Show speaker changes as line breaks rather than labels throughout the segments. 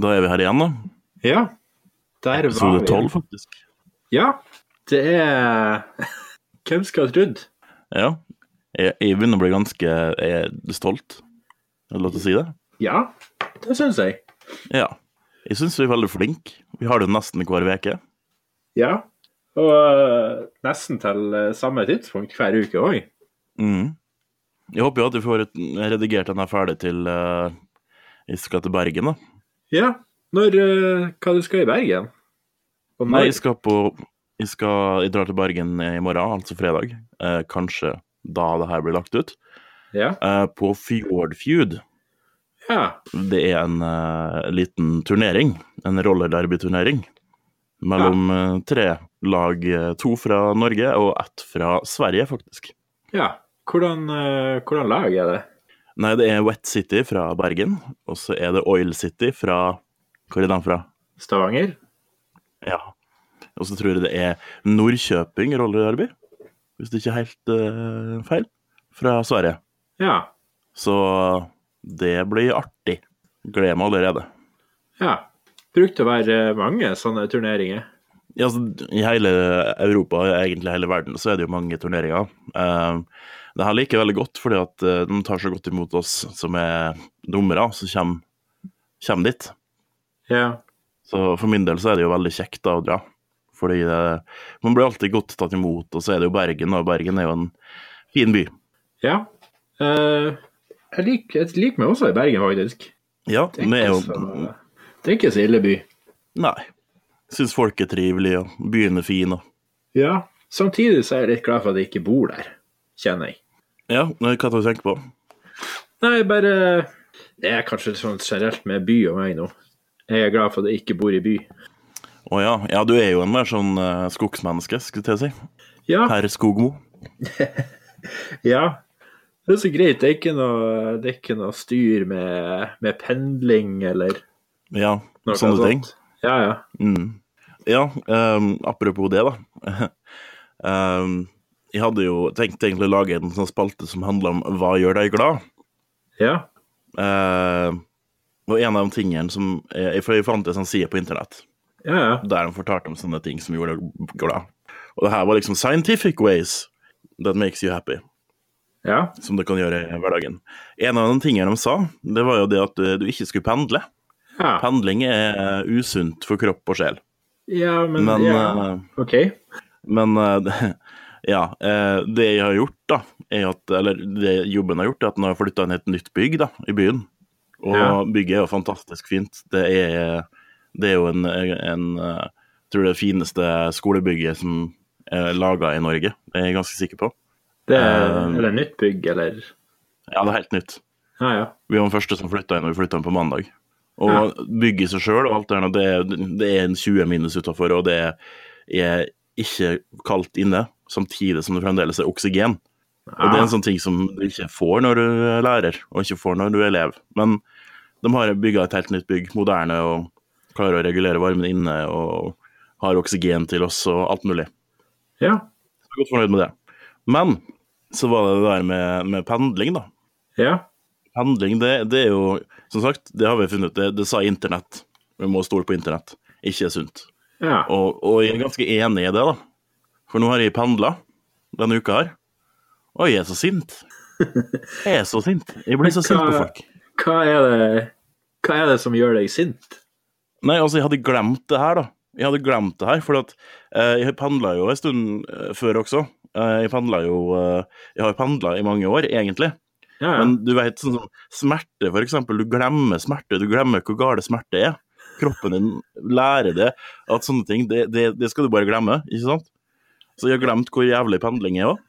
Da er vi her igjen, da.
Ja. Der var
Episode
vi.
tolv, faktisk.
Ja. Det er Hvem skulle ha trodd?
Ja. Jeg, jeg begynner å bli ganske jeg er stolt. Er det lov til å si det?
Ja, det syns jeg.
Ja. Jeg syns vi er veldig flinke. Vi har det nesten hver uke.
Ja. Og øh, nesten til øh, samme tidspunkt hver uke òg.
Mm. Jeg håper jo at vi får et, redigert denne ferdig til eh, jeg skal til Bergen, da.
Ja. Når øh, Hva du skal i Bergen? Og
Nei,
når?
jeg skal på Jeg, skal, jeg drar til Bergen i morgen, altså fredag. Eh, kanskje da det her blir lagt ut.
Ja.
Eh, på Fjordfeud.
ja.
Det er en eh, liten turnering, en rollerderbyturnering, mellom eh, tre lag, eh, to fra Norge og ett fra Sverige, faktisk.
ja. Hvordan, øh, hvordan lag er det?
Nei, det er Wet City fra Bergen, og så er det Oil City fra Hvor er den fra?
Stavanger?
Ja. Og så tror jeg det er Nordkjøping rollerderby, hvis det ikke er helt eh, feil, fra Sverige.
Ja.
Så det blir artig. Gleder meg allerede.
Ja. Brukte å være eh, mange sånne turneringer.
Ja, altså, I hele Europa og egentlig hele verden så er det jo mange turneringer. Uh, det her liker jeg veldig godt, fordi at eh, de tar så godt imot oss som er dommere, som kommer, kommer dit.
Ja.
Så for min del så er det jo veldig kjekt da å dra. Fordi eh, man blir alltid godt tatt imot, og så er det jo Bergen, og Bergen er jo en fin by.
Ja. Eh, jeg liker jeg liker meg også i Bergen, faktisk.
Ja,
Det er
det er
ikke
jo
så- det er ikke så ille by.
Nei. Syns folk er trivelige, og byen er fin, og
Ja. Samtidig så er jeg litt glad for at jeg ikke bor der, kjenner jeg.
Ja, hva tar du tenker på?
Nei, bare Det er kanskje sånn generelt med by og meg nå. Jeg er glad for at jeg ikke bor i by.
Å ja. ja, du er jo en mer sånn eh, skogsmenneske, skulle jeg til å si.
Ja.
Herr Skogmo.
ja. Det er så greit. Det er ikke noe, det er ikke noe styr med, med pendling eller
Ja,
noe
sånne ting.
sånt. Ja, ja.
Mm. Ja, ehm, apropos det, da. Ehm, jeg hadde jo tenkt egentlig å lage en sånn spalte som handler om hva gjør deg glad?
Ja.
Ehm, og en av de tingene som eh, For jeg fant en sånn side på internett
Ja, ja.
der de fortalte om sånne ting som gjorde deg glad. Og det her var liksom 'scientific ways that makes you happy',
ja.
som du kan gjøre i hverdagen. En av de tingene de sa, det var jo det at eh, du ikke skulle pendle.
ja.
Pendling er eh, usunt for kropp og sjel.
ja men,
Men
ja.
eh,
OK.
Men eh, ja, eh, det jeg har gjort, da, er at, eller det jobben jeg har gjort, er at nå har jeg flytta inn i et nytt bygg da, i byen. Og
Ja.
bygget er jo fantastisk fint. Det er, det er jo en, en eh, jeg tror det fineste skolebygget som er laga i Norge, det er jeg ganske sikker på.
Det er,
Eh,
eller nytt bygg, eller
Ja, det er helt nytt.
Ja, ja.
Vi var den første som flytta inn, og vi flytta inn på mandag. Og
Ja.
bygget i seg sjøl og alt det der, det, er- det er en 20 minus utafor, og det er ikke kaldt inne, samtidig som det fremdeles er oksygen. Og det er en sånn ting som du ikke får når du er lærer, og ikke får når du er elev. Men de har bygga et helt nytt bygg, moderne, og klarer å regulere varmen inne, og har oksygen til oss, og alt mulig.
Ja.
Jeg er godt fornøyd med det. Men så var det det der med, med pendling, da.
Ja.
Pendling, det, det er jo Som sagt, det har vi funnet ut. Det, det sa internett. Vi må stole på internett. Ikke er sunt.
ja.
Og, og jeg er ganske enig i det, da. For nå har jeg pendla denne uka her. Og jeg er så sint. Jeg er så sint. Jeg blir så sint på folk.
Hva er det Hva er det som gjør deg sint?
Nei, altså, jeg hadde glemt det her, da. Jeg hadde glemt det her, for at eh, jeg pendla jo en stund eh, før også. Eh, jeg pendla jo eh, Jeg har pendla i mange år, egentlig.
Ja, ja.
Men du vet, sånn som smerte, for eksempel. Du glemmer smerte. Du glemmer hvor gale smerte er. Kroppen din lærer det. At sånne ting, det, det, det skal du bare glemme, ikke sant? Så jeg har glemt hvor jævlig pendling er òg.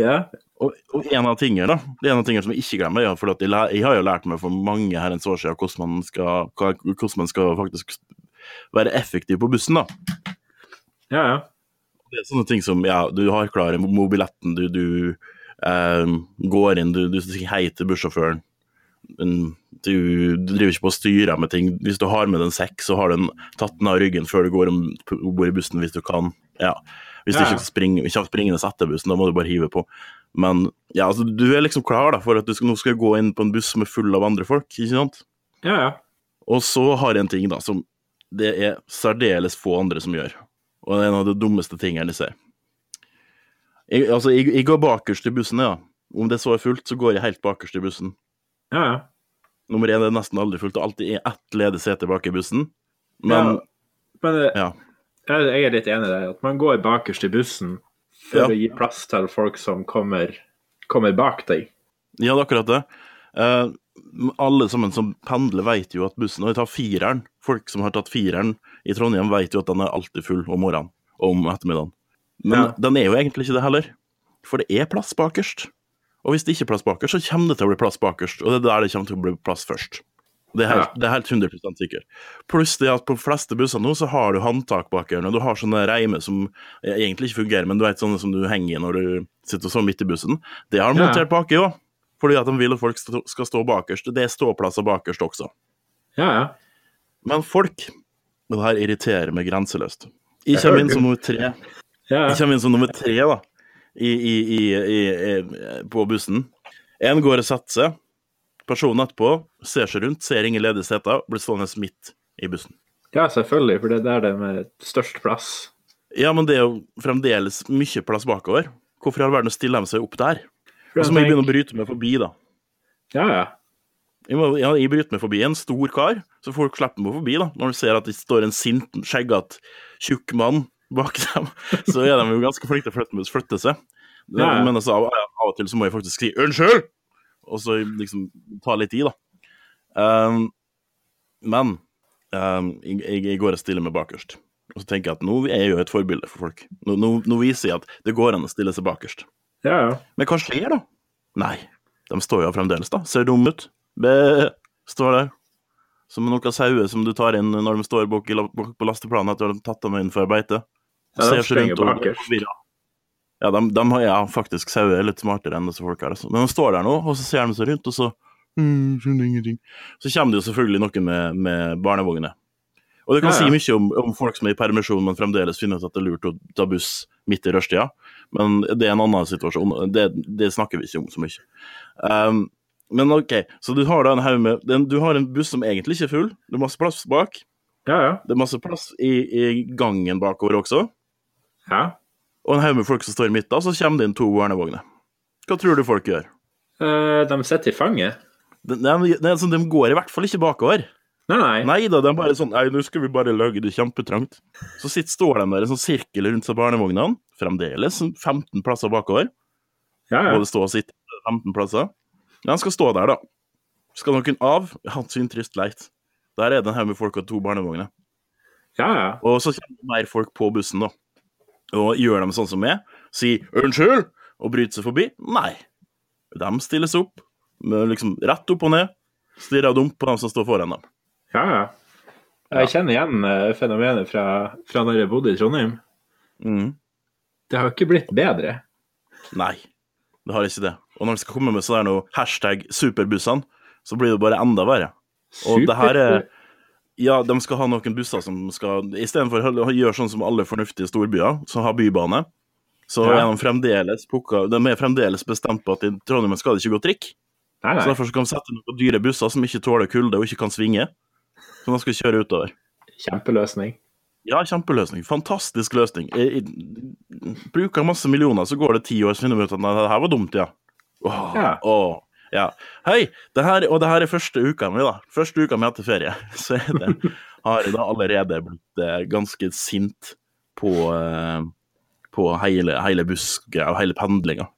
ja.
Og, og en av tingene, da. Det er en av tingene som jeg ikke glemmer. Ja, for at jeg, læ- jeg har jo lært meg for mange herrens år siden hvordan man skal, hva- hvordan man skal faktisk være effektiv på bussen, da.
ja, ja.
Det er sånne ting som ja, du har klar mobiletten, du, du ehm, går inn, du, du sier hei til bussjåføren. Men Du, du driver ikke på å styre med ting. Hvis du har med deg en sekk, så har du den, tatt den av ryggen før du går om bord i bussen, hvis du kan. Ja. Hvis du
Ja.
ikke springer, ikke har springende etter bussen, da må du bare hive på. Men ja, altså, du er liksom klar da, for at du skal, nå skal gå inn på en buss som er full av andre folk, ikke sant?
ja, ja.
Og så har jeg en ting da, som det er særdeles få andre som gjør. Og det er en av de dummeste tingene jeg ser. Jeg, altså, jeg, jeg går bakerst i bussen, ja. Om det så er fullt, så går jeg helt bakerst i bussen.
Ja, ja.
Nummer én det er nesten aldri fullt, det alltid er ett ledig sete bak i bussen. Men
Men eh,
ja.
jeg jeg er litt enig i det, at man går bakerst i bussen for
Ja.
å gi plass til folk som kommer, kommer bak deg.
Ja, det er akkurat det. Eh, alle sammen som pendler, vet jo at bussen Og jeg tar fireren. Folk som har tatt fireren i Trondheim, vet jo at den er alltid full om morgenen og om ettermiddagen. Men
Ja.
den er jo egentlig ikke det heller. For det er plass bakerst. Og hvis det ikke er plass bakerst, så kommer det til å bli plass bakerst. Og det er der det kommer til å bli plass først. Det er helt, det er helt 100 sikkert. Pluss det at på de fleste busser nå, så har du håndtak bak ørene. Du har sånne reimer som egentlig ikke fungerer, men du vet sånne som du henger i når du sitter sånn midt i bussen. Det har de
Ja.
montert baki òg. Fordi at de vil at folk stå- skal stå bakerst. Det er ståplasser bakerst også.
Ja, ja.
Men folk og Det her irriterer meg grenseløst. Jeg
Jeg hører
kommer inn
det.
som nummer tre.
ja,
Jeg
ja.
kommer inn som nummer tre da, i, i, i, i, i, på bussen. En går og setter seg. Personen etterpå ser seg rundt, ser ingen ledige seter, blir stående midt i bussen.
ja, selvfølgelig, for det er der det er med størst plass.
Ja, men det er jo fremdeles mye plass bakover. Hvorfor i all verden stiller de seg opp der?
For
Og så
jeg
må jeg
tenker-
begynne å bryte meg forbi, da.
Ja, ja.
Jeg, må, ja, jeg bryter meg forbi en stor kar, så folk slipper meg forbi, da. Når de ser at det står en sint, skjeggete, tjukk mann bak dem, så er de jo ganske flinke til å flytte, flytte seg. Det-
Ja, ja.
Men altså, av, av og til så må jeg faktisk si 'unnskyld', og så liksom ta litt i, da. Ehm, men ehm, jeg, jeg- jeg går og stiller meg bakerst. Og så tenker jeg at nå er jeg jo et forbilde for folk. Nå, nå, nå viser jeg at det går an å stille seg bakerst.
Ja, ja.
Men hva skjer da? Nei, de står jo fremdeles da. Ser dumme ut. Bæ, står der. Som noen sauer som du tar inn når de står bak, i la- bak på lasteplanet etter at de har tatt dem inn for beite.
Ja, de
Ser seg
sprenger
rundt og-
bakerst.
Ja, de, de har ja, faktisk sauer er litt smartere enn disse folka. her, Altså. Men de står der nå, og så ser de seg rundt, og så mm, skjønner ingenting. Så kommer det jo selvfølgelig noen med, med barnevogner. Og det kan
Ja,
si
ja.
mye om, om folk som er i permisjon, men fremdeles finner ut at det er lurt å ta buss midt i rushtida. Men det er en annen situasjon. Det, det snakker vi ikke om så mye. Um, men OK, så du har da en haug med den- Du har en buss som egentlig ikke er full. Det er masse plass bak.
Ja, ja.
Det er masse plass i, i gangen bakover også.
ja.
Og en haug med folk som står i midten, og så kommer det inn to barnevogner. Hva tror du folk gjør?
Eh, de sitter i fanget.
De, de, de, altså, de går i hvert fall ikke bakover.
Nei, nei.
Nei da, de er bare sånn Nei, nå skal vi bare lage det kjempetrangt. Så sitter, står de der i sånn sirkel rundt seg barnevognene, fremdeles sånn 15 plasser bakover.
Ja, ja.
Både stå og sitte 15 plasser. Ja, han skal stå der, da. Skal noen av? Ja, synd trist leit. Der er det en haug med folk og to barnevogner.
ja, ja.
Og så kommer det mer folk på bussen, da. Og gjør dem sånn som meg. Sier 'unnskyld' og bryter seg forbi. Nei. De stilles opp, med liksom rett opp og ned. Stirrer dumt på dem som står foran dem.
Ja, ja. Jeg kjenner igjen eh, fenomenet fra, fra når jeg bodde i Trondheim.
Mm.
Det har ikke blitt bedre.
Nei, det har ikke det. Og når de skal komme med sånn her noe hashtag 'superbussene', så blir det bare enda verre. Og det her eh, er Ja, de skal ha noen busser som skal Istedenfor å gjøre sånn som alle fornuftige storbyer, som har bybane, så
Ja.
er de fremdeles plukka De er fremdeles bestemt på at i Trondheim skal det ikke gå trikk.
Nei,
Så
nei.
derfor så kan de sette noen dyre busser som ikke tåler kulde og ikke kan svinge. Så de skal kjøre utover.
Kjempeløsning.
Ja, kjempeløsning. Fantastisk løsning. Jeg, jeg, bruker masse millioner, så går det ti år, så finner vi ut at nei, det her var dumt, ja. Åh,
Ja.
åh, ja. Hei, det her, og det her er første uka mi, da. Første uka mi etter ferie. Så er det, har jeg da allerede blitt eh, ganske sint på, eh, på hele, hele bussgreia, hele pendlinga.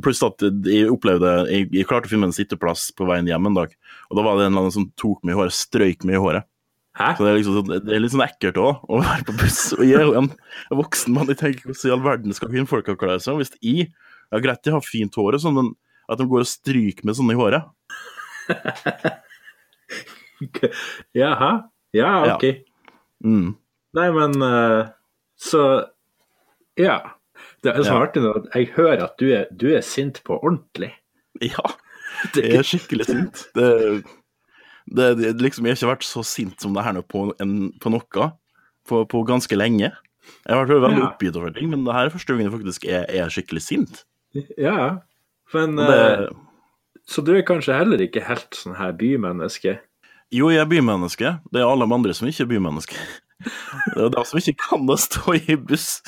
Pluss at jeg opplevde jeg, jeg klarte å finne meg en sitteplass på veien hjem en dag, og da var det en eller annen som tok meg i håret, strøyk meg i håret.
Hæ?
Så det er, liksom, sånn- det er litt sånn ekkelt òg, å være på buss. Og jeg er jo en voksen mann, jeg tenker hvordan i all verden skal kvinnfolk klare seg? Hvis jeg ja, Greit, jeg har fint hår, og sånn, men at de går og stryker med sånne i håret
Jaha. Ja,
Ja.
OK.
mm.
Nei, men eh, Så Ja. Det er så
Ja.
artig nå at jeg hører at du er, du er sint på ordentlig.
Ja,
Det
jeg er skikkelig sint. Det, det, det, liksom, jeg har ikke vært så sint som det her nå på, en, på noe på, på ganske lenge. Jeg har vært veldig
Ja.
oppgitt over ting, men det her er første gangen jeg faktisk er, er skikkelig sint.
Ja. Men
Og det,
eh, Så du er kanskje heller ikke helt sånn her bymenneske?
Jo, jeg er bymenneske. Det er alle de andre som ikke er bymenneske. Det er de som ikke kan å stå i buss.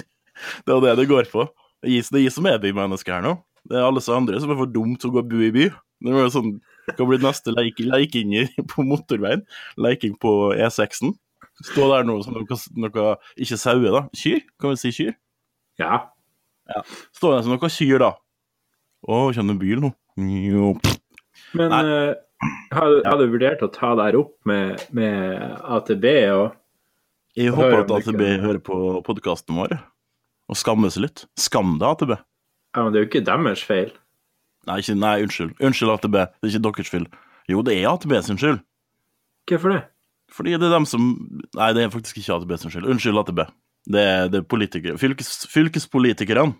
Det er det det går på. Det er jeg- det er jeg som er bymenneske her nå. Det er alle som andre som er for dumme til å gå og bo i by. Det var jo sånn, Hva blir neste leik, leiking i- på motorveien? Leiking på E6-en? Stå der nå som noe, noe Ikke sauer, da. Kyr? Kan vi si kyr?
Ja.
Stå der som noe kyr, da. Å, kjenner bil nå. Jo.
Men eh, har, har du vurdert å ta det her opp med, med AtB og
Jeg
Da
håper
hører
at
de
AtB
ikke.
hører på podkasten vår og skammer seg litt. Skam deg, AtB.
Ja, men det er jo ikke deres feil.
Nei, ikke, nei, unnskyld. Unnskyld, AtB. Det er ikke deres skyld. Jo, det er AtB sin skyld.
Hvorfor det?
Fordi det er dem som Nei, det er faktisk ikke AtB sin skyld. Unnskyld, AtB. Det er, det er politikere. Fylkes, fylkespolitikerne.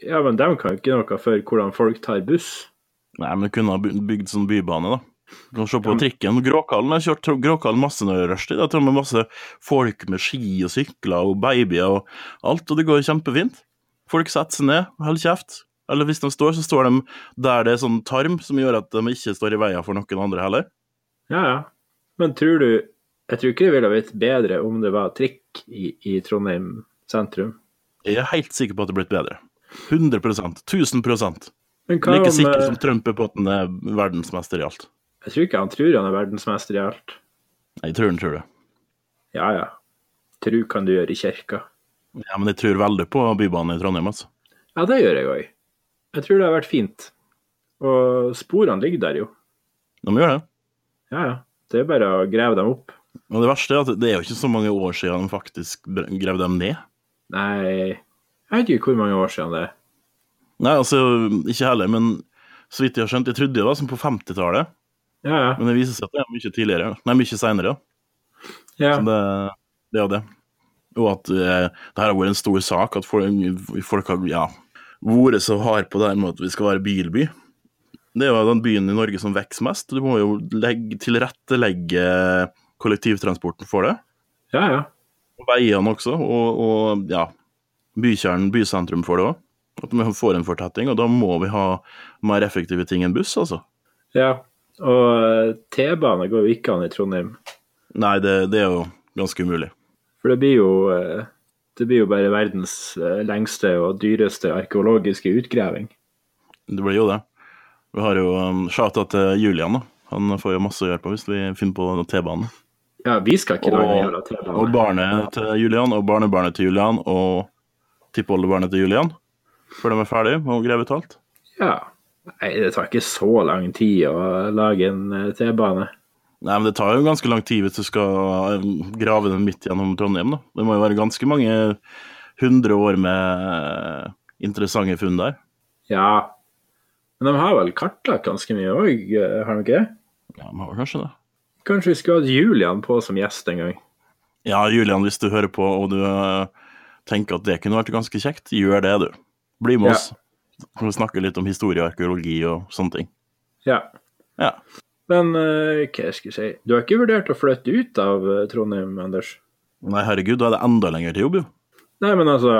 Ja, men de kan jo ikke noe for hvordan folk tar buss.
Nei, men kunne ha by- bygd sånn bybane, da. Du kan se på trikken. Gråkallen har kjørt tro- Gråkallen masse når det er rushtid. Det er til og med masse folk med ski og sykler og babyer og alt, og det går kjempefint. Folk setter seg ned, holder kjeft. Eller hvis de står, så står de der det er sånn tarm som gjør at de ikke står i veien for noen andre heller.
Ja, ja. Men tror du Jeg tror ikke det ville ha blitt bedre om det var trikk i, i Trondheim sentrum.
Jeg er helt sikker på at det er blitt bedre. 100 1000 Like
Men hva om
sikker
eh,
som Trump er på at han er verdensmester i alt.
Jeg tror ikke han tror han er verdensmester i alt.
Jeg tror han tror det.
Ja, ja. Tru kan du gjøre i kirka.
Ja, Men jeg tror veldig på Bybanen i Trondheim, altså.
Ja, det gjør jeg òg. Jeg tror det har vært fint. Og sporene ligger der, jo.
De gjør det.
Ja, ja. Det er bare å grave dem opp.
Og det verste er at det er jo ikke så mange år siden de faktisk br- grev dem ned.
Nei, jeg vet ikke hvor mange år siden det er.
Nei, altså, ikke heller, men så vidt jeg har skjønt Jeg trodde det var som på 50-tallet,
Ja, ja.
men det viser seg at det er mye tidligere. Nei, mye seinere.
ja.
Så det, det er jo det. Og at eh, det her har vært en stor sak, at folk, folk har ja, vært så harde på det her med at vi skal være bilby. Det er jo den byen i Norge som vokser mest. Du må jo legge, tilrettelegge kollektivtransporten for det.
ja, ja.
Og veiene også, og, og ja, bykjernen, bysentrum for det òg. At vi får en fortetting, og da må vi ha mer effektive ting enn buss, altså.
ja. Og eh, T-bane går jo ikke an i Trondheim.
Nei, det, det er jo ganske umulig.
For det blir jo eh, Det blir jo bare verdens eh, lengste og dyreste arkeologiske utgraving.
Det blir jo det. Vi har jo um, shouta til Julian, da. Han får jo masse å gjøre på hvis vi finner på T-banen.
Ja, vi skal ikke lage en jævla
Og
T-bane.
barnet til Julian, og barnebarnet til Julian, og tippoldebarnet til Julian. Før de er ferdige og greier ut alt.
Ja. Nei, det tar ikke så lang tid å lage en eh, T-bane.
Nei, men det tar jo ganske lang tid hvis du skal eh, grave den midt gjennom Trondheim, da. Det må jo være ganske mange hundre år med eh, interessante funn der.
Ja. Men de har vel kartlagt ganske mye òg, har de ikke det?
Ja, men det var kanskje det.
Kanskje vi skulle hatt Julian på som gjest en gang?
Ja, Julian, hvis du hører på og du eh, tenker at det kunne vært ganske kjekt, gjør det, du. Bli med
Ja.
oss. Vi snakker litt om historie og arkeologi og sånne ting.
Ja.
Ja.
Men eh, hva skal jeg si Du har ikke vurdert å flytte ut av eh, Trondheim, Anders?
Nei, herregud, da er det enda lenger til jobb, jo.
Nei, men altså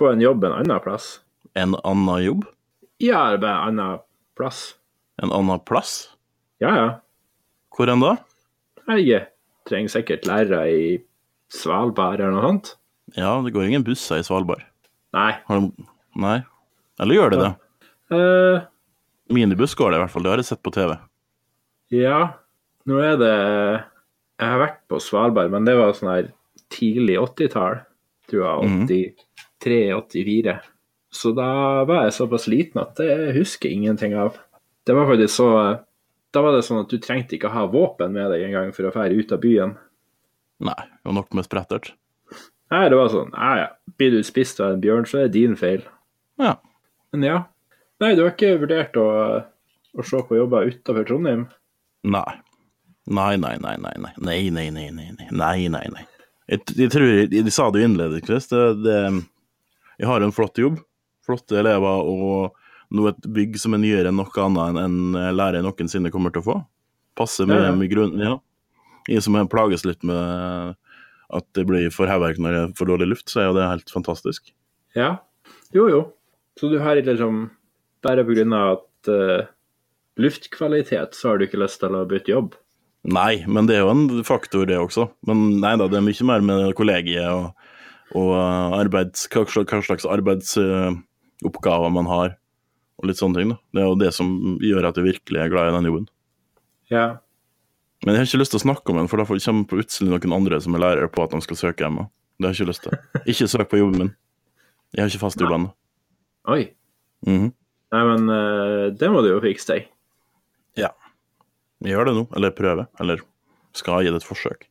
Få en jobb en annen plass?
En annen jobb?
Ja, det er bare en annen plass.
En annen plass?
Ja, ja.
Hvor enn da?
Jeg trenger sikkert lærere i Svalbard eller noe sånt.
Ja, det går ingen busser i Svalbard.
Nei.
Har de Nei. Eller gjør det det?
eh,
Minibuss går det i hvert fall, det har jeg sett på TV.
ja, nå er det Jeg har vært på Svalbard, men det var sånn her tidlig 80-tall. Tror jeg 83-84. Så da var jeg såpass liten at det husker jeg ingenting av. Det var faktisk så Da var det sånn at du trengte ikke ha våpen med deg engang for å fære ut av byen.
Nei, det var nok med sprettert.
Nei, det var sånn Ja, ja. Blir du spist av en bjørn, så er det din feil.
Ja.
Men ja. Nei, du har ikke vurdert å, å se på jobber utenfor Trondheim?
Nei. Nei, nei, nei, nei, nei, nei, nei, nei, nei, nei, nei, nei, nei. Jeg, jeg tror, jeg, jeg sa det jo innledningsvis, det, det, jeg har en flott jobb, flotte elever og noe et bygg som er nyere enn noe annet enn en lærer noensinne kommer til å få. Passer mye
Ja, ja.
med grunnen, ja. Jeg som plages litt med at det blir for hevverk når det er for dårlig luft, så er jo det helt fantastisk.
Ja. Jo, jo. Så du har liksom Bare på grunn av at eh, luftkvalitet, så har du ikke lyst til å bytte jobb?
Nei, men det er jo en faktor, det også. Men nei da, det er mye mer med kollegiet og, og eh, arbeids, hva slags, hva slags arbeidsoppgaver man har, og litt sånne ting. da. Det er jo det som gjør at jeg virkelig er glad i den jobben.
Ja.
Men jeg har ikke lyst til å snakke om den, for da får- kommer på utsiden noen andre som er lærere på at de skal søke hjemme. Det har jeg ikke lyst til. Ikke søk på jobben min. Jeg har ikke fast jobb ennå.
Oi.
Mhm.
Nei, men eh, det må du jo fikse deg.
Jeg gjør det nå, eller prøver, eller skal gi det et forsøk.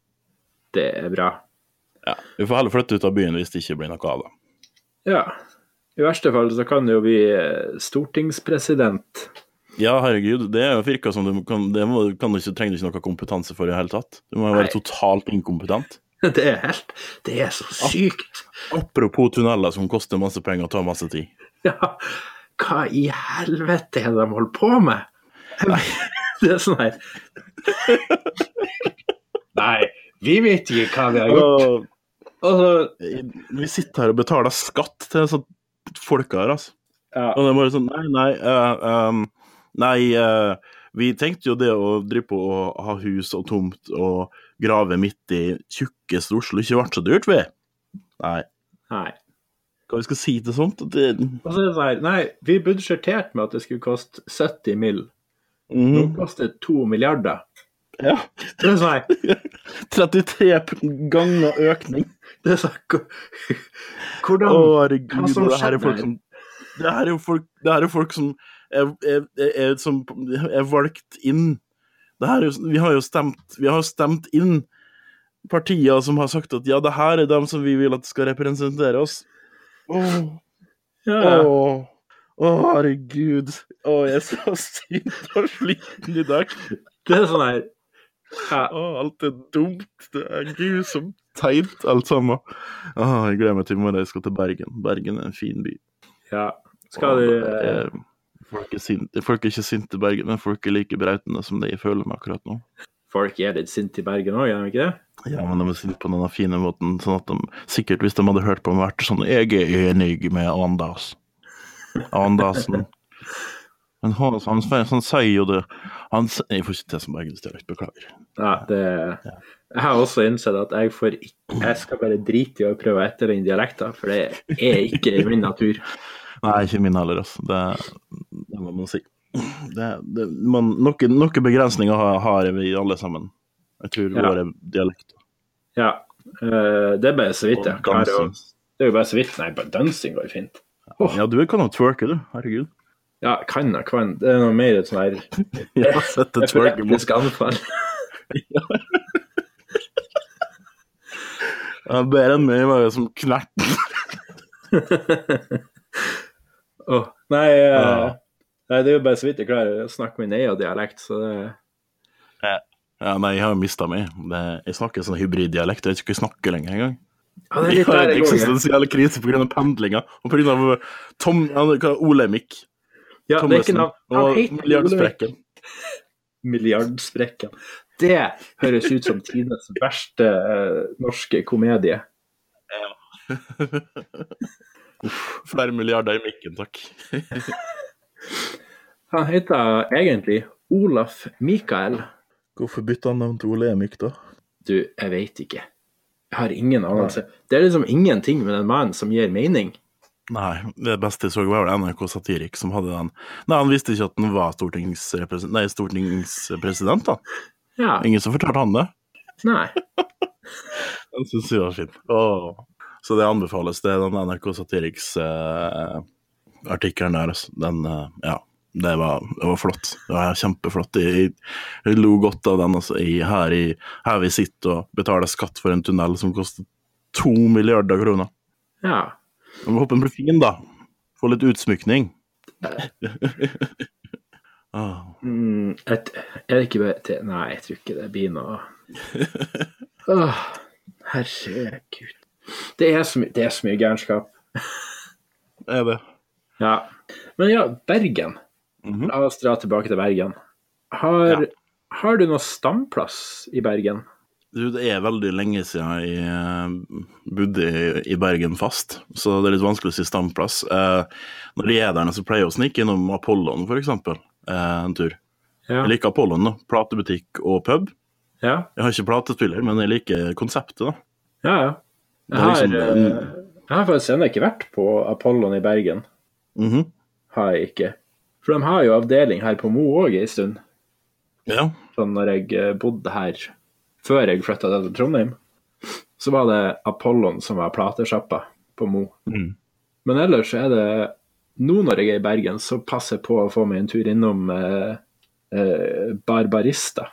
Det er bra.
Ja, Vi får heller flytte ut av byen hvis det ikke blir noe av det.
Ja. I verste fall så kan du jo bli eh, stortingspresident.
Ja, herregud, det er jo virka som du kan, det må, kan du ikke, trenger du ikke noe kompetanse for i det hele tatt. Du må jo være
Nei.
totalt inkompetent.
Det er helt Det er så sykt!
Apropos tunneler som koster masse penger og tar masse tid.
Ja. Hva i helvete er det de holder på med? Det er sånn her Nei, vi vet ikke hva vi har gjort.
Og,
Altså,
vi sitter her og betaler skatt til disse folka her, altså.
ja.
Og det er bare sånn Nei, nei. eh, ehm, nei, eh, vi tenkte jo det å drive på å ha hus og tomt og grave midt i tjukkeste Oslo ikke ble så dyrt, vi. Nei.
Nei.
Hva vi skal si til sånt? Det,
Og så er det sånn her Nei, vi budsjetterte med at det skulle koste 70 mill. Nå
mm,
koster det 2 milliarder.
ja.
Det er sånn her
33 p- ganger økning.
det er sånn, hvor- Hvordan
Å, herregud.
Hva som
og Det her er
skjedde
folk
her?
som Det her er jo folk, det her er folk som er, er, er, er, som er valgt inn. Det her er jo, vi har jo stemt Vi har stemt inn partier som har sagt at ja, det her er dem som vi vil at skal representere oss. Å,
ja,
å,
ja.
å, herregud. Å, jeg er så sint og sliten i dag.
Det er sånn her ja,
Å, alt er dumt. Det er grusomt teit, alt sammen. Å, jeg gleder meg til i morgen jeg skal til Bergen. Bergen er en fin by.
ja. Skal du
Og,
eh,
eh, Folk er, sinte, folk er ikke sinte i Bergen, men folk er like brautende som det jeg føler meg akkurat nå.
Folk er litt sinte i Bergen òg, er de ikke det?
Ja, men de er sinte på denne fine måten, sånn at de sikkert, hvis de hadde hørt på meg, vært sånn Jeg er enig med Anders. Andersen. Men han, han, han, sier jo det han, s- Jeg får ikke til som bergensdialekt, beklager.
Ja, det Jeg har også innsett at jeg, får ikke, jeg skal bare drite i å prøve å etterligne dialekter, for det er ikke i min natur.
Nei, ikke min heller, altså. Det, det må man si. Det, det, man, noen, noen begrensninger har, har vi alle sammen. Jeg tror
Ja.
våre dialekter.
Ja. eh, Det er bare så vidt jeg
og
klarer å
dansing.
Det er jo bare så vidt. Nei, bare dansing går fint. Åh,
Ja, du kan jo twerke, du. Herregud.
ja, kan og kan. Det er noe mer et sånn her
Ja, sette twerke mot
epileptisk anfall.
ja, Bedre enn meg, var jo som knert.
Åh, nei, eh,
Ja.
nei, det er jo bare så vidt jeg klarer å snakke min egen dialekt, så det
Ja, nei, jeg har jo mista meg. Det, jeg snakker sånn hybriddialekt. Jeg vet ikke hva jeg snakker lenger engang.
Ja, det er
Jeg
litt
har
der
en
jeg går.
eksistensiell krise pga. pendlinga og pga. eh, Tom ja, hva, Olemic
Ja, det er ikke
Thommessen
navn. Han
og
heter
Milliardsprekken.
Milliardsprekken. Det høres ut som tidenes verste eh, norske komedie.
Flere milliarder i mikken, takk.
Han heter egentlig Olaf Mikael.
Hvorfor bytta han navn til Olemic, da?
Du, jeg veit ikke. Jeg har ingen anelse. Det er liksom ingenting med den mannen som gir mening.
Nei, det beste jeg så var vel NRK Satirik som hadde den. Nei, han visste ikke at han var stortingsrepresen- nei, stortingspresident, da.
Ja,
Ingen som fortalte han det.
nei.
Den syns jeg var fin. Åh. Så det anbefales. Det er den NRK Satiriks-artikkelen eh, der, altså. Den eh, Ja. Det var, det var flott. Det var kjempeflott. Jeg, jeg lo godt av den. Altså. Jeg, her, i, her vi sitter og betaler skatt for en tunnel som koster to milliarder kroner.
Ja.
Jeg må håpe den blir fin, da. Få litt utsmykning. ah.
Mm, et, er det ikke bare til Nei, jeg tror ikke det blir noe Åh, Herregud. Det er så, my det er så mye gærenskap.
Er det?
Ja. Men ja, Bergen.
Mhm.
La oss dra tilbake til Bergen. Har,
Ja.
har du noe stamplass i Bergen?
Du, det er veldig lenge siden jeg eh, bodde i, i Bergen fast, så det er litt vanskelig å si stamplass. Eh, når jeg er der, nå, så pleier jeg å snike innom Apollon, for eksempel, eh, en tur.
Ja.
Jeg liker Apollon, da. Platebutikk og pub.
Ja,
Jeg har ikke platespiller, men jeg liker konseptet, da.
ja. ja.
Det
Jeg
er
har,
liksom-
eh, jeg har faktisk ennå ikke vært på Apollon i Bergen.
Mhm.
Har jeg ikke. For de har jo avdeling her på Mo òg ei stund.
Ja.
sånn når jeg eh, bodde her før jeg flytta til Trondheim, så var det Apollon som var platesjappa på Mo.
Mm.
Men ellers så er det Nå når jeg er i Bergen, så passer jeg på å få meg en tur innom eh, eh, Barbarista.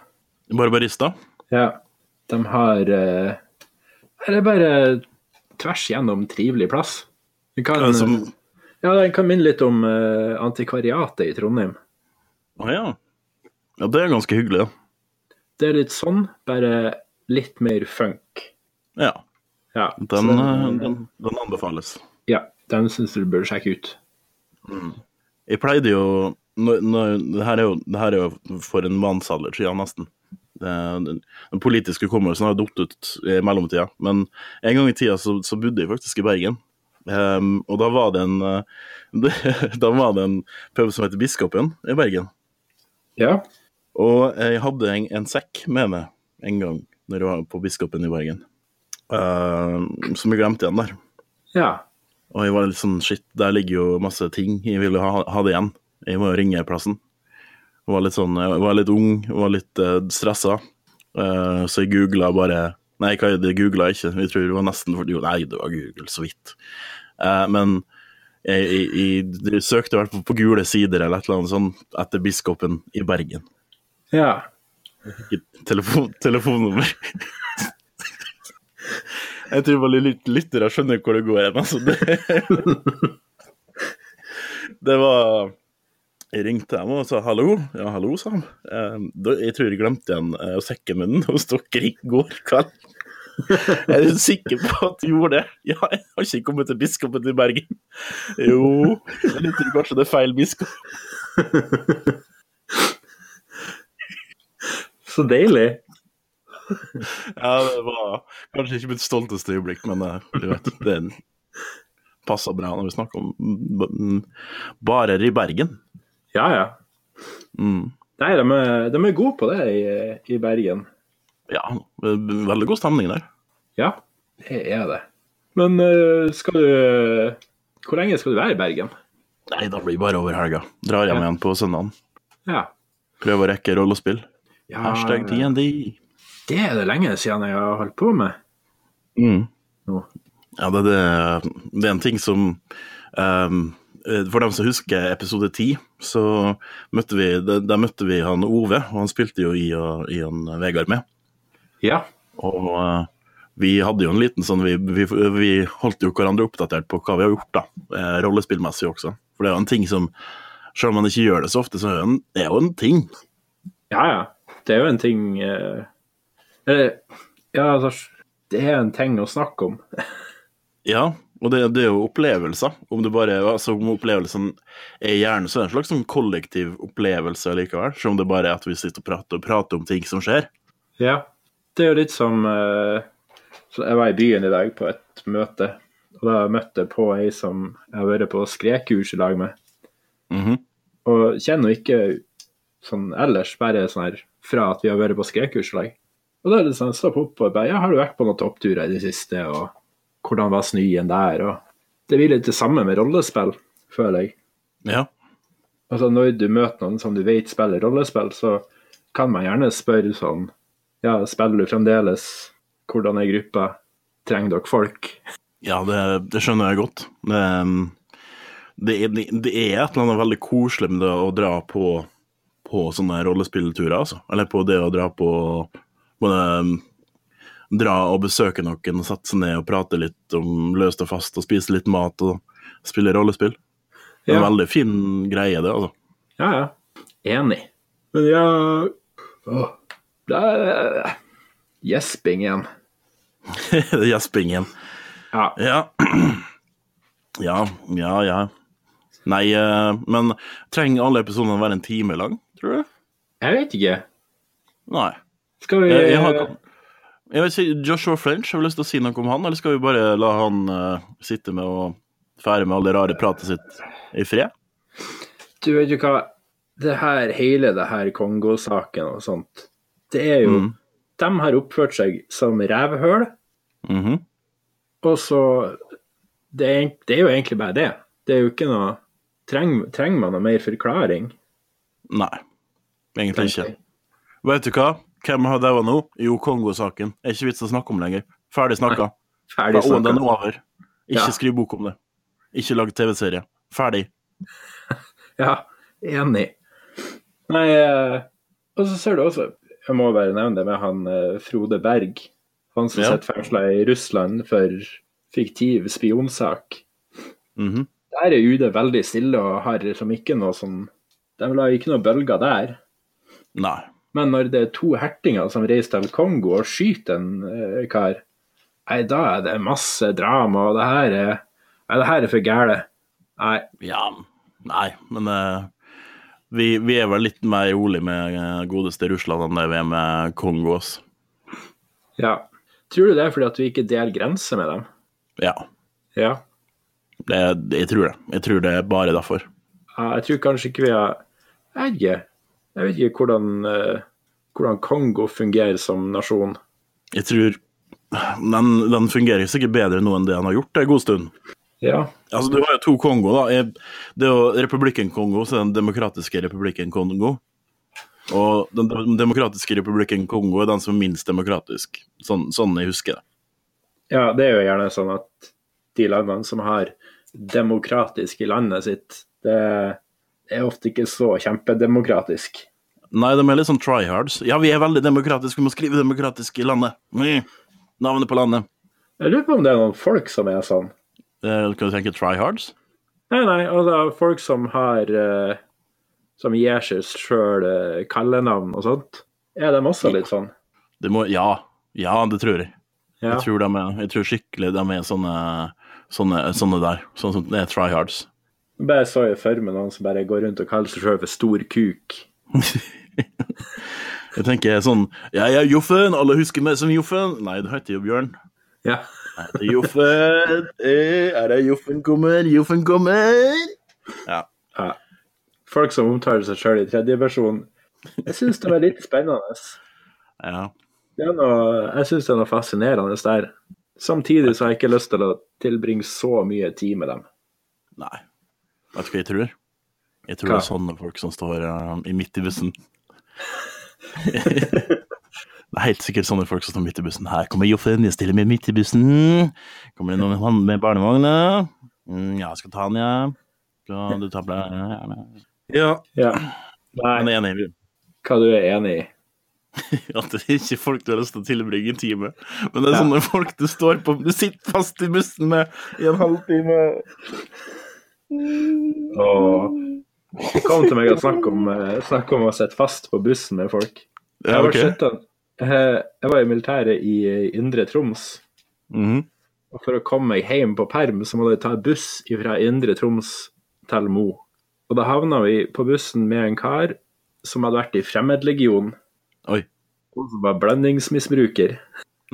Barbarista.
Ja. De har eh, Det er bare tvers gjennom trivelig plass. Det kan,
Ja, som-
ja, den kan minne litt om eh, antikvariatet i Trondheim.
Å ja. ja. Det er ganske hyggelig,
Det er litt sånn, bare litt mer funk.
da. Ja.
Ja, så
Den, eh, den, den anbefales.
Ja, den syns du burde sjekke ut.
Jeg pleide jo når, når, det, her er jo det her er jo for en mannsalder siden, nesten. Det, den, den politiske hukommelsen har datt ut i mellomtida. Men en gang i tida så, så bodde jeg faktisk i Bergen. Ehm, og da var det en eh, Da var det en pub som heter Biskopen i Bergen.
Ja.
Og jeg hadde en, en sekk med meg en gang når jeg var på Biskopen i Bergen, Ehm, som jeg glemte igjen der.
Ja.
Og jeg var litt sånn shit, der ligger jo masse ting jeg ville ha, ha det igjen. Jeg må jo ringe plassen. Jeg var litt sånn, jeg var litt ung, jeg var litt uh, stressa. Eh, så jeg googla bare Nei, hva er det googla jeg ikke. Jeg tror det var nesten for, Jo, nei, det var Google, så vidt. Eh, men jeg, jeg, jeg, jeg søkte i hvert fall på gule sider eller et eller annet sånt etter biskopen i Bergen.
Ja.
Ikke Telefon, telefonnummer. Jeg tror bare lyt- lyttere skjønner hvor det går hen. Altså. Det, det var Jeg ringte dem og sa hallo. Ja, hallo, sa han. Eh, da- Jeg tror jeg glemte igjen eh, sekken min hos dere i går kveld. Er du sikker på at du gjorde det? Ja, jeg har ikke kommet til biskopen i Bergen. Jo, jeg tror kanskje det er feil biskop.
Så deilig.
Ja, det var kanskje ikke mitt stolteste øyeblikk, men eh, du vet, det passa bra når vi snakker om b- m- barer i Bergen.
Ja, ja.
Mm.
Nei, de er, de er gode på det i, i Bergen.
Ja, v- veldig god stemning der.
Ja, det er det. Men eh, skal du Hvor lenge skal du være i Bergen?
Nei, da blir det bare over helga. Drar hjem
Ja.
igjen på søndagen.
Ja.
Prøver å rekke rollespill.
ja
Hashtag TND.
Det er det lenge siden jeg har holdt på med.
Mm.
Nå.
Ja, det, det, det er en ting som ehm, eh, For dem som husker episode ti, så møtte vi, der der møtte vi han Ove, og han spilte jo i, i han Vegard med.
Ja.
Og eh, vi hadde jo en liten sånn vi, vi, vi holdt jo hverandre oppdatert på hva vi har gjort, da. eh, Rollespillmessig også. For det er jo en ting som Selv om man ikke gjør det så ofte, så er det en- det er jo en ting.
Ja, ja. Det er jo en ting eh, Eller Ja, altså Det er en ting å snakke om.
Ja, og det, det er jo opplevelser. Om det bare altså om opplevelsen er gjerne så er det en slags sånn kollektiv opplevelse likevel. Selv om det bare er at vi sitter og prater og prater om ting som skjer.
Ja, det er jo litt som eh, så Jeg var i byen i dag på et møte, og da møtte jeg på ei som jeg har vært på skredkurs i lag med.
Mhm.
Og kjenner henne ikke sånn ellers, bare sånn her fra at vi har vært på skredkurs i lag. Og da er det sånn, stopp opp og bare Ja, har du vært på noen toppturer i det siste, og hvordan var snøen der, og Det blir litt det samme med rollespill, føler jeg.
Ja.
Altså Når du møter noen som du vet spiller rollespill, så kan man gjerne spørre sånn Ja, spiller du fremdeles? Hvordan er gruppa? Trenger dere folk?
Ja, det, det skjønner jeg godt. Det, um, det, er- det er et eller annet veldig koselig med det å dra på, på sånne rollespillturer, altså. Eller på det å dra på både um, dra og besøke noen og sette seg ned og prate litt om løst og fast og spise litt mat og spille rollespill. Det er en
Ja.
veldig fin greie, det, altså.
Ja, ja. Enig. Men ja Åh, Det er gjesping igjen.
Det er Gjespingen.
Ja.
Ja. ja, ja, ja. Nei, eh, men trenger alle episodene å være en time lang, tror du?
Jeg vet ikke.
Nei.
Skal vi
Eh,
eh,
Jeg, jeg har jeg vil si Joshua French, jeg har lyst til å si noe om han, eller skal vi bare la han eh, sitte med å fære med all det rare pratet sitt i fred?
Du vet jo hva, det her, hele det her Kongo-saken og sånt, det er jo
Mm.
de har oppført seg som revhøl,
Mhm.
og så det er, egent- det er jo egentlig bare det. Det er jo ikke noe Trenger, trenger man noe mer forklaring?
Nei, egentlig ikke. Vet du hva? Hvem har daua nå? Jo, Kongo-saken. Er ikke vits å snakke om lenger. Ferdig snakka. Da
Ferdig
er den
snakka.
over. Ikke
Ja.
skriv bok om det. Ikke lag TV-serie. Ferdig.
Ja, enig. Nei, eh, og så ser du også Jeg må bare nevne det med han eh, Frode Berg. Han som
Ja.
sitter fengsla i Russland for fiktiv spionsak.
Mhm.
Der er UD veldig stille og har liksom ikke noe sånn De la ikke noe bølger der.
Nei.
Men når det er to hertinger som reiser til Kongo og skyter en eh, kar, nei, da er det masse drama, og det her er, nei, det her er for gæle. Nei,
Ja, nei, men eh, vi, vi er vel litt mer rolig med eh, godeste Russland enn det vi er med Kongo. ass.
ja. Tror du det er fordi at vi ikke deler grenser med dem?
Ja,
Ja.
det, jeg tror det. Jeg tror det er bare derfor.
Ja, Jeg tror kanskje ikke vi har Jeg vet ikke. Jeg vet ikke hvordan, eh, hvordan Kongo fungerer som nasjon.
Jeg tror den, den fungerer sikkert bedre nå enn det han har gjort en god stund.
Ja.
Altså, Du har jo to Kongo, da. Jeg- Det er jo republikken Kongo så er den demokratiske republikken Kongo. Og den dem- demokratiske republikken Kongo er den som er minst demokratisk, sånn, sånn jeg husker det.
ja, det er jo gjerne sånn at de landene som har demokratisk i landet sitt, det er ofte ikke så kjempedemokratisk.
Nei, de er litt sånn tryhards. Ja, vi er veldig demokratiske, vi må skrive demokratisk i landet. Mm. Navnet på landet.
Jeg lurer på om det er noen folk som er sånn.
Eh, Kan du tenke tryhards?
Nei, nei, altså folk som har eh, Som gir seg sjøl eh, kallenavn og sånt. Er de også litt sånn?
Det må, ja. ja, det tror jeg.
Ja.
Jeg tror, de er, jeg tror skikkelig de er sånne, sånne, sånne der. Sånn som det er tryhards.
Bare så jeg for meg noen som bare går rundt og kaller seg sjøl for stor kuk.
Jeg tenker sånn Jeg er Joffen, alle husker meg som Joffen. Nei, du heter jo Bjørn.
Ja.
Jeg heter Joffen, eh, er det Joffen kommer, Joffen kommer? Ja.
ja. Folk som omtaler seg sjøl i tredjeperson. Jeg syns det er litt spennende.
ja.
Det er noe, jeg syns det er noe fascinerende der. Samtidig så har jeg ikke lyst til å tilbringe så mye tid med dem.
Nei. Vet du hva jeg tror? Jeg tror
Hva?
det er sånne folk som står eh, i midt i bussen. det er helt sikkert sånne folk som står midt i bussen. Her kommer Joffen, jeg stiller meg midt i bussen. Kommer det noen med hånd- med barnevogna? Mm, ja, skal ta den, ja. Skal du ta på deg Ja.
Ja.
Men
Nei,
jeg er enig i
hva du er enig i?
at det er ikke folk du har lyst til å tilbringe en time med. Men det er
Ja.
sånne folk du står på Du sitter fast i bussen med i en halvtime.
Og kom til meg og snakk om, eh, snakk om å sitte fast på bussen med folk. Jeg
Ja,
var,
ok.
skjøtta- eh, jeg var i militæret i eh, Indre Troms,
Mhm.
og for å komme meg hjem på perm, så måtte jeg ta buss fra Indre Troms til Mo. Og da havna vi på bussen med en kar som hadde vært i Fremmedlegionen,
Oi.
og som var blandingsmisbruker.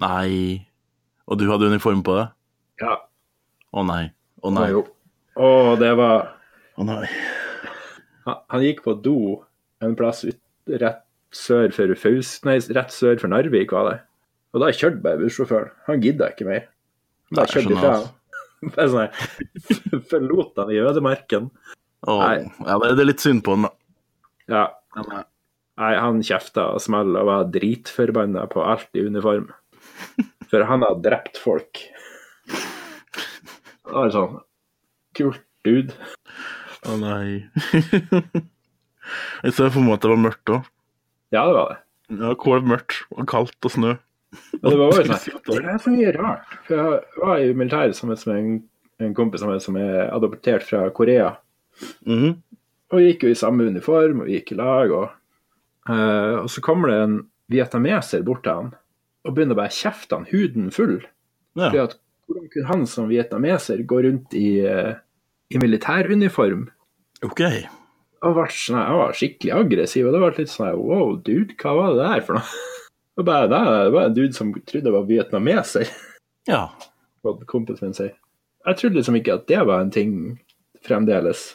Nei. Og du hadde uniform på deg?
Ja,
Å nei. Å
nei.
nei.
jo. Og det var
Å nei.
Han, han gikk på do en plass ut, rett sør for Faus... Nei, rett sør for Narvik, var det. Og da kjørte bare bussjåføren. Han gidda ikke mer. Han
Nei,
bare
jeg
kjørte ifra.
skjønner, altså.
han. Bare sånn her, Forlot han i ødemarken.
Å,
Nei.
ja, det det er litt synd på den, da.
Ja.
Ja,
Nei, han kjefta og smell og var dritforbanna på alt i uniform. For han har drept folk. Det var sånn Kult, dude.
Å nei. Jeg ser for meg at det var mørkt òg.
Ja, det var det.
Ja, kolmørkt og kaldt og snø.
Men det var
Og
også
du
sånn,
sitter
det er så mye rart. For jeg var i militæret sammen med en, en kompis av meg som er adoptert fra Korea.
Mhm.
Og vi gikk jo i samme uniform, og vi gikk i lag. Og, eh, og så kommer det en vietnameser bort til han og begynner bare å kjefte han huden full. Fordi
Ja.
at hvordan kunne han som vietnameser gå rundt i, eh, i militæruniform?
OK.
Og ble sånn, jeg var skikkelig aggressiv, og det ble litt sånn her, wow, dude, hva var det der for noe? Og bare, nei, nei, det var en dude som trodde jeg var vietnameser.
Ja.
hva kompisen min sier. Jeg trodde liksom ikke at det var en ting fremdeles.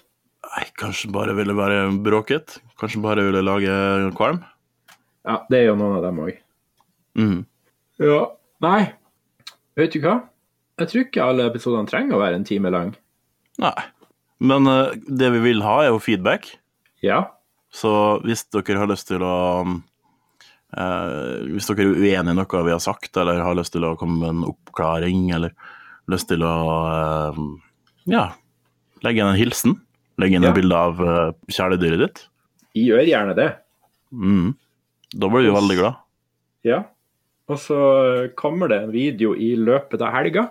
Nei, kanskje bare ville være bråket? Kanskje bare ville lage kvalm?
Ja, det er jo noen av dem òg.
Mhm.
Ja. Nei, vet du hva? Jeg tror ikke alle episodene trenger å være en time lang.
Nei. Men eh, det vi vil ha, er jo feedback.
Ja.
Så hvis dere har lyst til å eh, Hvis dere er uenig i noe vi har sagt, eller har lyst til å komme med en oppklaring, eller lyst til å eh, ja, legge inn en hilsen, legge inn
Ja.
et bilde av eh, kjæledyret ditt,
Gjør gjerne det.
mm, da blir vi veldig glad.
Ja. Og så kommer det en video i løpet av helga.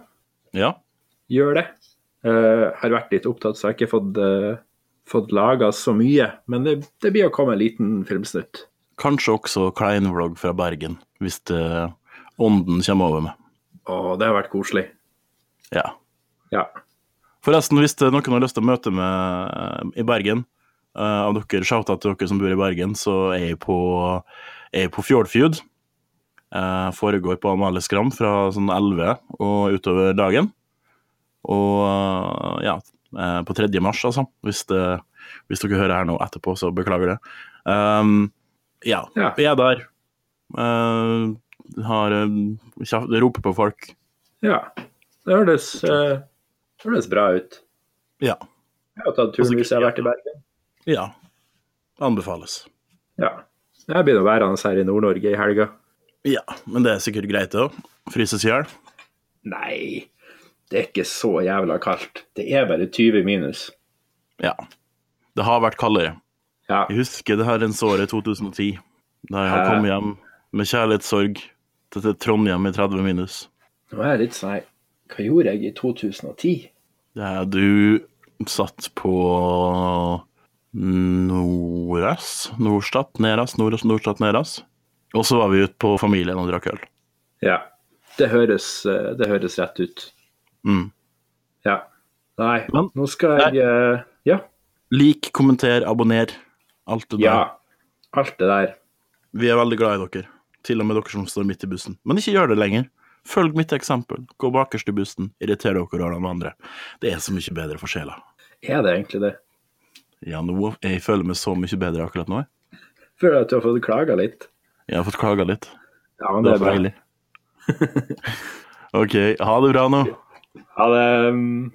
Ja.
Gjør det. Eh, har vært litt opptatt, så jeg har ikke fått, uh, fått laga så mye. Men det, det blir å komme en liten filmsnutt.
Kanskje også kleinvlogg fra Bergen, hvis det, ånden kommer over meg.
Å, det har vært koselig.
Ja.
Ja.
Forresten, hvis det er noen har lyst til å møte meg eh, i Bergen, eh, av dere, shouta til dere som bor i Bergen, så er jeg på, er jeg på Fjordfjord. Eh, foregår på Amalie Skram fra sånn 11 og utover dagen. Og eh, ja, eh, på 3. mars, altså. Hvis, det, hvis dere hører her nå etterpå, så beklager det. Um, ja,
Ja.
vi er der. Eh, har, eh, kjeft- roper på folk.
ja. Det høres, eh, høres bra ut.
Ja.
Jeg har tatt turen
Altså,
hvis jeg har vært i Bergen.
ja. Anbefales.
Ja. Jeg blir nå værende her i Nord-Norge i helga.
Ja, men det er sikkert greit det òg. Fryses i hjel.
Nei, det er ikke så jævla kaldt. Det er bare 20 minus.
Ja. Det har vært kaldere.
Ja.
Jeg husker det her en såre 2010, da jeg
Hæ?
kom hjem med kjærlighetssorg til til Trondheim i 30 minus.
Nå er jeg litt sånn her, Hva gjorde jeg i 2010?
Det er du satt på Noras, Norstat, Neras, Noras, Norstat, Neras. Og så var vi ute på familien og drakk øl.
Ja. Det høres, eh, det høres rett ut.
Mm.
Ja. Nei,
Men-
nå skal jeg eh, Ja.
Lik, kommenter, abonner. Alt det der.
ja. Alt det der.
Vi er veldig glad i dere. Til og med dere som står midt i bussen. Men ikke gjør det lenger. Følg mitt eksempel. Gå bakerst i bussen. Irriter dere og alle andre. Det er så mye bedre for sjela.
Er det egentlig det?
Ja, nå jeg føler meg så mye bedre akkurat nå. jeg.
Føler jeg at du har fått klaga litt.
Jeg har fått klaga litt.
Ja, men
Det
det
er
er
deilig.
bra.
OK, ha det bra nå.
Ha det. mm.